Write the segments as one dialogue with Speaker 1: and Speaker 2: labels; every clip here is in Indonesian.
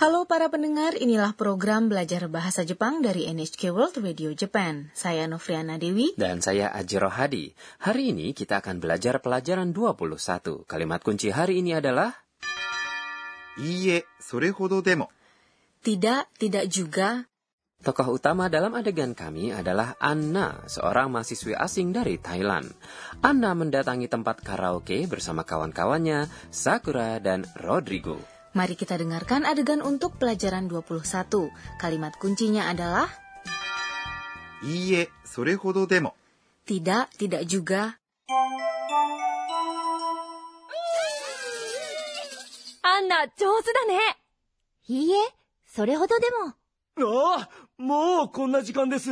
Speaker 1: Halo para pendengar, inilah program belajar bahasa Jepang dari NHK World Radio Japan. Saya Novriana Dewi.
Speaker 2: Dan saya Ajiro Hadi. Hari ini kita akan belajar pelajaran 21. Kalimat kunci hari ini adalah
Speaker 3: いいえ、それほどでも。
Speaker 1: Tidak, tidak juga.
Speaker 2: Tokoh utama dalam adegan kami adalah Anna, seorang mahasiswi asing dari Thailand. Anna mendatangi tempat karaoke bersama kawan-kawannya, Sakura dan Rodrigo.
Speaker 1: Mari kita dengarkan adegan untuk pelajaran 21. Kalimat kuncinya adalah
Speaker 3: いいえ、それほどでも。
Speaker 1: tidak, tidak juga.
Speaker 4: Anna, 上手だね。いいえ、それほどでも。
Speaker 5: ああ、もうこんな時間です。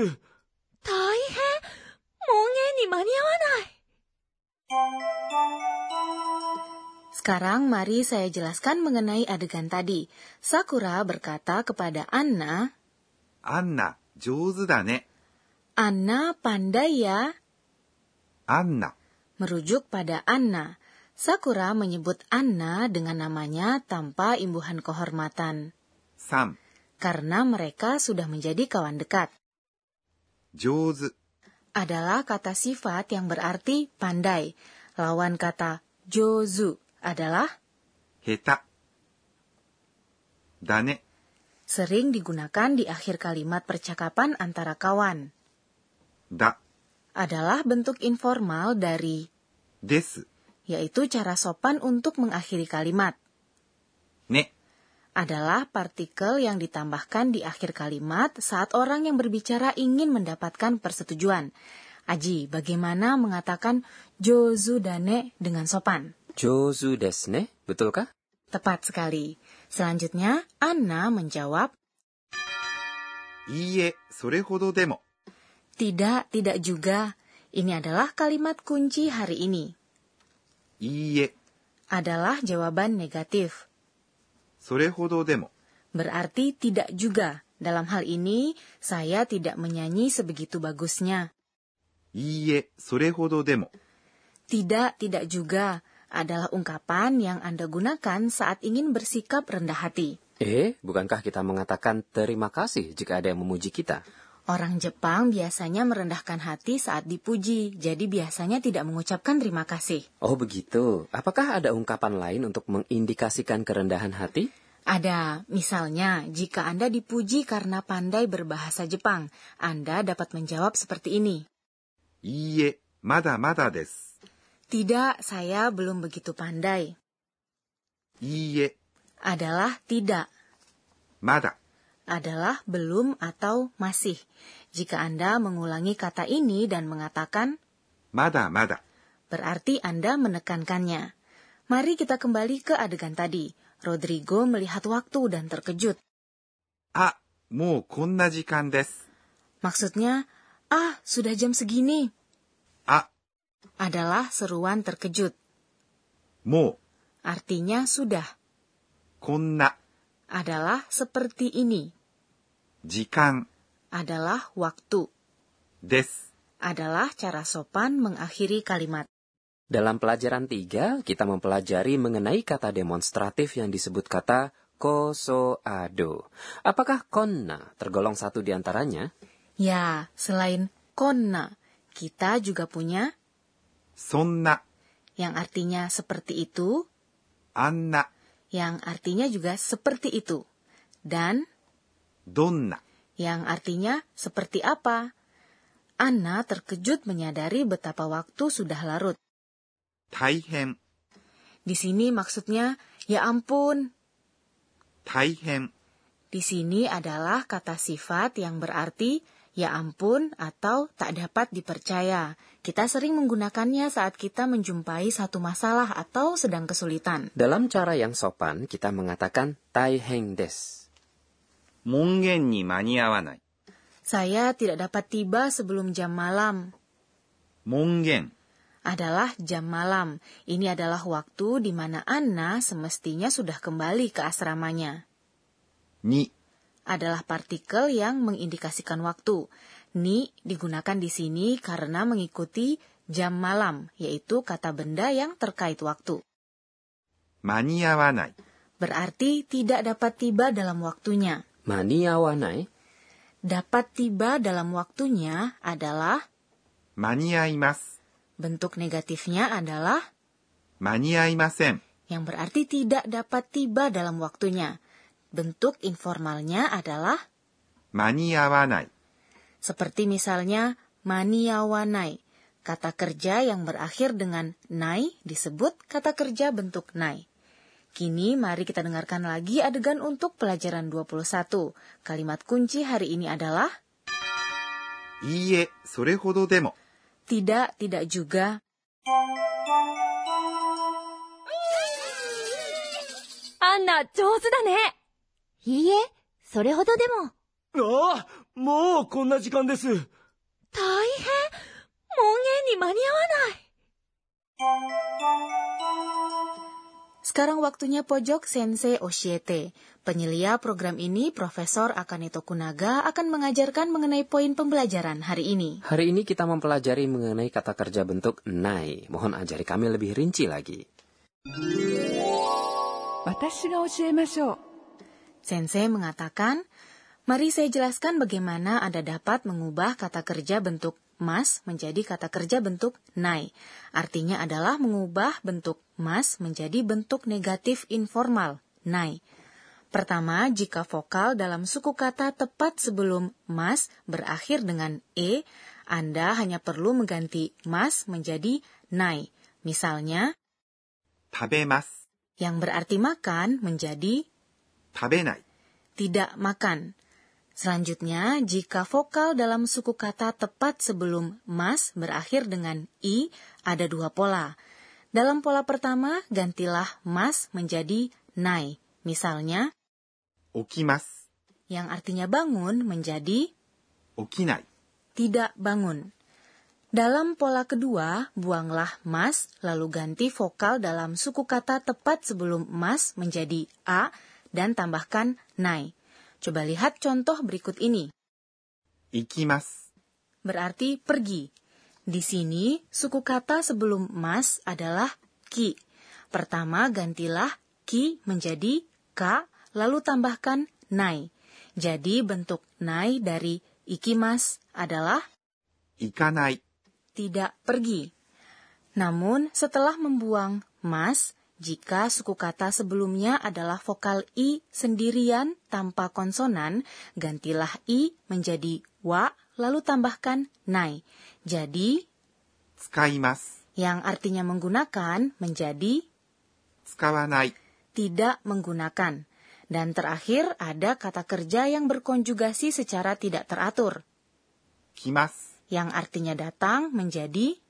Speaker 4: 大変。門限に間に合わない。
Speaker 1: Sekarang mari saya jelaskan mengenai adegan tadi. Sakura berkata kepada Anna,
Speaker 3: アンナ、上手だね。
Speaker 1: Anna pandai ya,
Speaker 3: アンナ、
Speaker 1: merujuk pada Anna. Sakura menyebut Anna dengan namanya tanpa imbuhan kehormatan,
Speaker 3: さん、
Speaker 1: karena mereka sudah menjadi kawan dekat.
Speaker 3: 上手、
Speaker 1: Adalah kata sifat yang berarti pandai. Lawan kata jozu adalah
Speaker 3: 下手。だね、
Speaker 1: sering digunakan di akhir kalimat percakapan antara kawan.
Speaker 3: だ、
Speaker 1: Adalah bentuk informal dari
Speaker 3: です、
Speaker 1: yaitu cara sopan untuk mengakhiri kalimat,
Speaker 3: ね、
Speaker 1: adalah partikel yang ditambahkan di akhir kalimat saat orang yang berbicara ingin mendapatkan persetujuan. Aji, bagaimana mengatakan jozu dane dengan sopan?
Speaker 2: Jozu desu ne, betulkah?
Speaker 1: Tepat sekali. Selanjutnya, Anna menjawab,
Speaker 3: いいえ、それほどでも。
Speaker 1: tidak, tidak juga. Ini adalah kalimat kunci hari ini.
Speaker 3: いいえ、
Speaker 1: Adalah jawaban negatif.
Speaker 3: それほどでも。
Speaker 1: Berarti tidak juga. Dalam hal ini, saya tidak menyanyi sebegitu bagusnya.
Speaker 3: いいえ、それほどでも。
Speaker 1: Tidak, tidak juga adalah ungkapan yang Anda gunakan saat ingin bersikap rendah hati.
Speaker 2: Eh, bukankah kita mengatakan terima kasih jika ada yang memuji kita?
Speaker 1: Orang Jepang biasanya merendahkan hati saat dipuji, jadi biasanya tidak mengucapkan terima kasih.
Speaker 2: Oh begitu. Apakah ada ungkapan lain untuk mengindikasikan kerendahan hati?
Speaker 1: Ada, misalnya, jika Anda dipuji karena pandai berbahasa Jepang, Anda dapat menjawab seperti ini.
Speaker 3: いいえ、まだまだです。
Speaker 1: Tidak, saya belum begitu pandai.
Speaker 3: いいえ、
Speaker 1: Adalah tidak.
Speaker 3: まだ、
Speaker 1: adalah belum atau masih. Jika Anda mengulangi kata ini dan mengatakan,
Speaker 3: まだまだ。
Speaker 1: berarti Anda menekankannya. Mari kita kembali ke adegan tadi. Rodrigo melihat waktu dan terkejut.
Speaker 3: あ、もうこんな時間です。
Speaker 1: Maksudnya, ah, sudah jam segini,
Speaker 3: あ、
Speaker 1: adalah seruan terkejut.
Speaker 3: もう、
Speaker 1: Artinya sudah,
Speaker 3: こんな、
Speaker 1: adalah seperti ini,
Speaker 3: 時間、
Speaker 1: adalah waktu,
Speaker 3: です。
Speaker 1: adalah cara sopan mengakhiri kalimat.
Speaker 2: Dalam pelajaran 3, kita mempelajari mengenai kata demonstratif yang disebut kata kosoado. Apakah konna tergolong satu di antaranya?
Speaker 1: Ya, selain konna, kita juga punya
Speaker 3: そんな、
Speaker 1: yang artinya seperti itu,
Speaker 3: あんな、
Speaker 1: yang artinya juga seperti itu, dan
Speaker 3: どんな、
Speaker 1: yang artinya seperti apa. Anna terkejut menyadari betapa waktu sudah larut.
Speaker 3: 大変、
Speaker 1: Di sini maksudnya, ya ampun.
Speaker 3: 大変、
Speaker 1: Di sini adalah kata sifat yang berarti ya ampun atau tak dapat dipercaya. Kita sering menggunakannya saat kita menjumpai satu masalah atau sedang kesulitan.
Speaker 2: Dalam cara yang sopan, kita mengatakan taiheng des.
Speaker 3: 門限に間に合わない。
Speaker 1: Saya tidak dapat tiba sebelum jam malam.
Speaker 3: 門限、
Speaker 1: Adalah jam malam. Ini adalah waktu di mana Anna semestinya sudah kembali ke asramanya.
Speaker 3: に、
Speaker 1: Adalah partikel yang mengindikasikan waktu. Ni digunakan di sini karena mengikuti jam malam, yaitu kata benda yang terkait waktu.
Speaker 3: 間に合わない。
Speaker 1: berarti tidak dapat tiba dalam waktunya.
Speaker 2: Mania wanai?
Speaker 1: Dapat tiba dalam waktunya adalah
Speaker 3: 間に合います。
Speaker 1: bentuk negatifnya adalah
Speaker 3: 間に合いません。
Speaker 1: yang berarti tidak dapat tiba dalam waktunya. Bentuk informalnya adalah
Speaker 3: 間に合わない。
Speaker 1: seperti misalnya maniawanai. Kata kerja yang berakhir dengan nai disebut kata kerja bentuk nai. Kini mari kita dengarkan lagi adegan untuk pelajaran 21. Kalimat kunci hari ini adalah
Speaker 3: いいえ、それほどでも。
Speaker 1: tidak, tidak juga,
Speaker 4: アンナ上手だねいいえ、それほどでも。
Speaker 5: ああ、もうこんな時間です。
Speaker 4: 大変門限に間に合わない
Speaker 1: Sekarang waktunya pojok Sensei Oshiete. Penyelia program ini, Profesor Akaneto Kunaga akan mengajarkan mengenai poin pembelajaran hari ini.
Speaker 2: Hari ini kita mempelajari mengenai kata kerja bentuk nai. Mohon ajari kami lebih rinci lagi.
Speaker 6: 私が教えましょう
Speaker 1: Sensei mengatakan, mari saya jelaskan bagaimana Anda dapat mengubah kata kerja bentuk mas menjadi kata kerja bentuk nai. Artinya adalah mengubah bentuk mas menjadi bentuk negatif informal, nai. Pertama, jika vokal dalam suku kata tepat sebelum mas berakhir dengan e, Anda hanya perlu mengganti mas menjadi nai. Misalnya,
Speaker 3: 食べます。
Speaker 1: yang berarti makan menjadi
Speaker 3: 食べない。
Speaker 1: tidak makan. Selanjutnya, jika vokal dalam suku kata tepat sebelum mas berakhir dengan i, ada dua pola. Dalam pola pertama, gantilah mas menjadi nai. Misalnya,
Speaker 3: 起きます。
Speaker 1: yang artinya bangun menjadi
Speaker 3: 起きない。
Speaker 1: tidak bangun. Dalam pola kedua, buanglah mas, lalu ganti vokal dalam suku kata tepat sebelum mas menjadi a dan tambahkan nai. Coba lihat contoh berikut ini.
Speaker 3: 行きます。
Speaker 1: Berarti pergi. Di sini, suku kata sebelum mas adalah ki. Pertama, gantilah ki menjadi ka, lalu tambahkan nai. Jadi, bentuk nai dari ikimas adalah
Speaker 3: 行かない。
Speaker 1: tidak pergi. Namun, setelah membuang mas, jika suku kata sebelumnya adalah vokal i sendirian tanpa konsonan, gantilah i menjadi wa, lalu tambahkan nai. Jadi,
Speaker 3: 使います。
Speaker 1: yang artinya menggunakan menjadi
Speaker 3: 使わない。
Speaker 1: tidak menggunakan. Dan terakhir ada kata kerja yang berkonjugasi secara tidak teratur,
Speaker 3: 来ます。
Speaker 1: yang artinya datang menjadi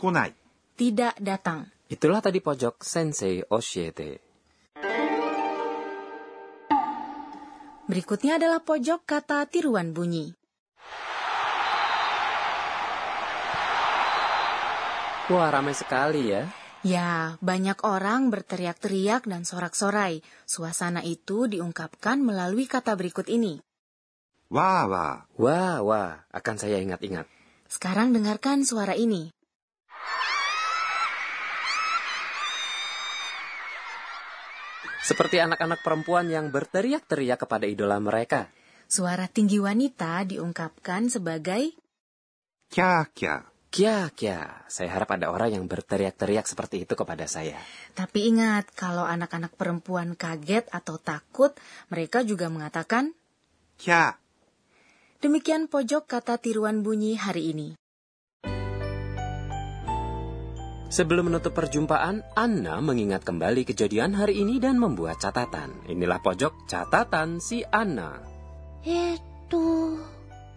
Speaker 3: 来ない。
Speaker 1: tidak datang.
Speaker 2: Itulah tadi pojok Sensei Oshiete.
Speaker 1: Berikutnya adalah pojok kata tiruan bunyi.
Speaker 2: Wah, ramai sekali ya.
Speaker 1: Ya, banyak orang berteriak-teriak dan sorak-sorai. Suasana itu diungkapkan melalui kata berikut ini.
Speaker 3: わーわ
Speaker 2: Wah, wah, akan saya ingat-ingat.
Speaker 1: Sekarang dengarkan suara ini.
Speaker 2: Seperti anak-anak perempuan yang berteriak-teriak kepada idola mereka.
Speaker 1: Suara tinggi wanita diungkapkan sebagai
Speaker 3: ー。キャーキャー。
Speaker 2: Kia, kia, saya harap ada orang yang berteriak-teriak seperti itu kepada saya.
Speaker 1: Tapi ingat, kalau anak-anak perempuan kaget atau takut, mereka juga mengatakan,
Speaker 3: キャー。
Speaker 1: demikian pojok kata tiruan bunyi hari ini.
Speaker 2: Sebelum menutup perjumpaan, Anna mengingat kembali kejadian hari ini dan membuat catatan. Inilah pojok catatan si Anna.
Speaker 4: えーっと、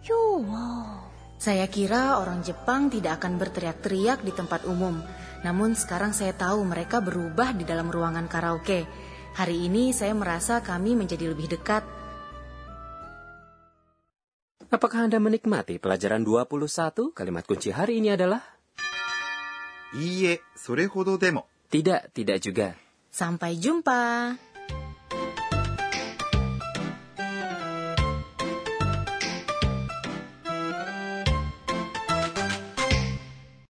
Speaker 4: 今日は、
Speaker 1: Saya kira orang Jepang tidak akan berteriak-teriak di tempat umum. Namun sekarang saya tahu mereka berubah di dalam ruangan karaoke. Hari ini saya merasa kami menjadi lebih dekat.
Speaker 2: Apakah Anda menikmati pelajaran 21? Kalimat kunci hari ini adalah
Speaker 3: いいえ、それほどでも。
Speaker 2: tidak, tidak juga.
Speaker 1: Sampai jumpa.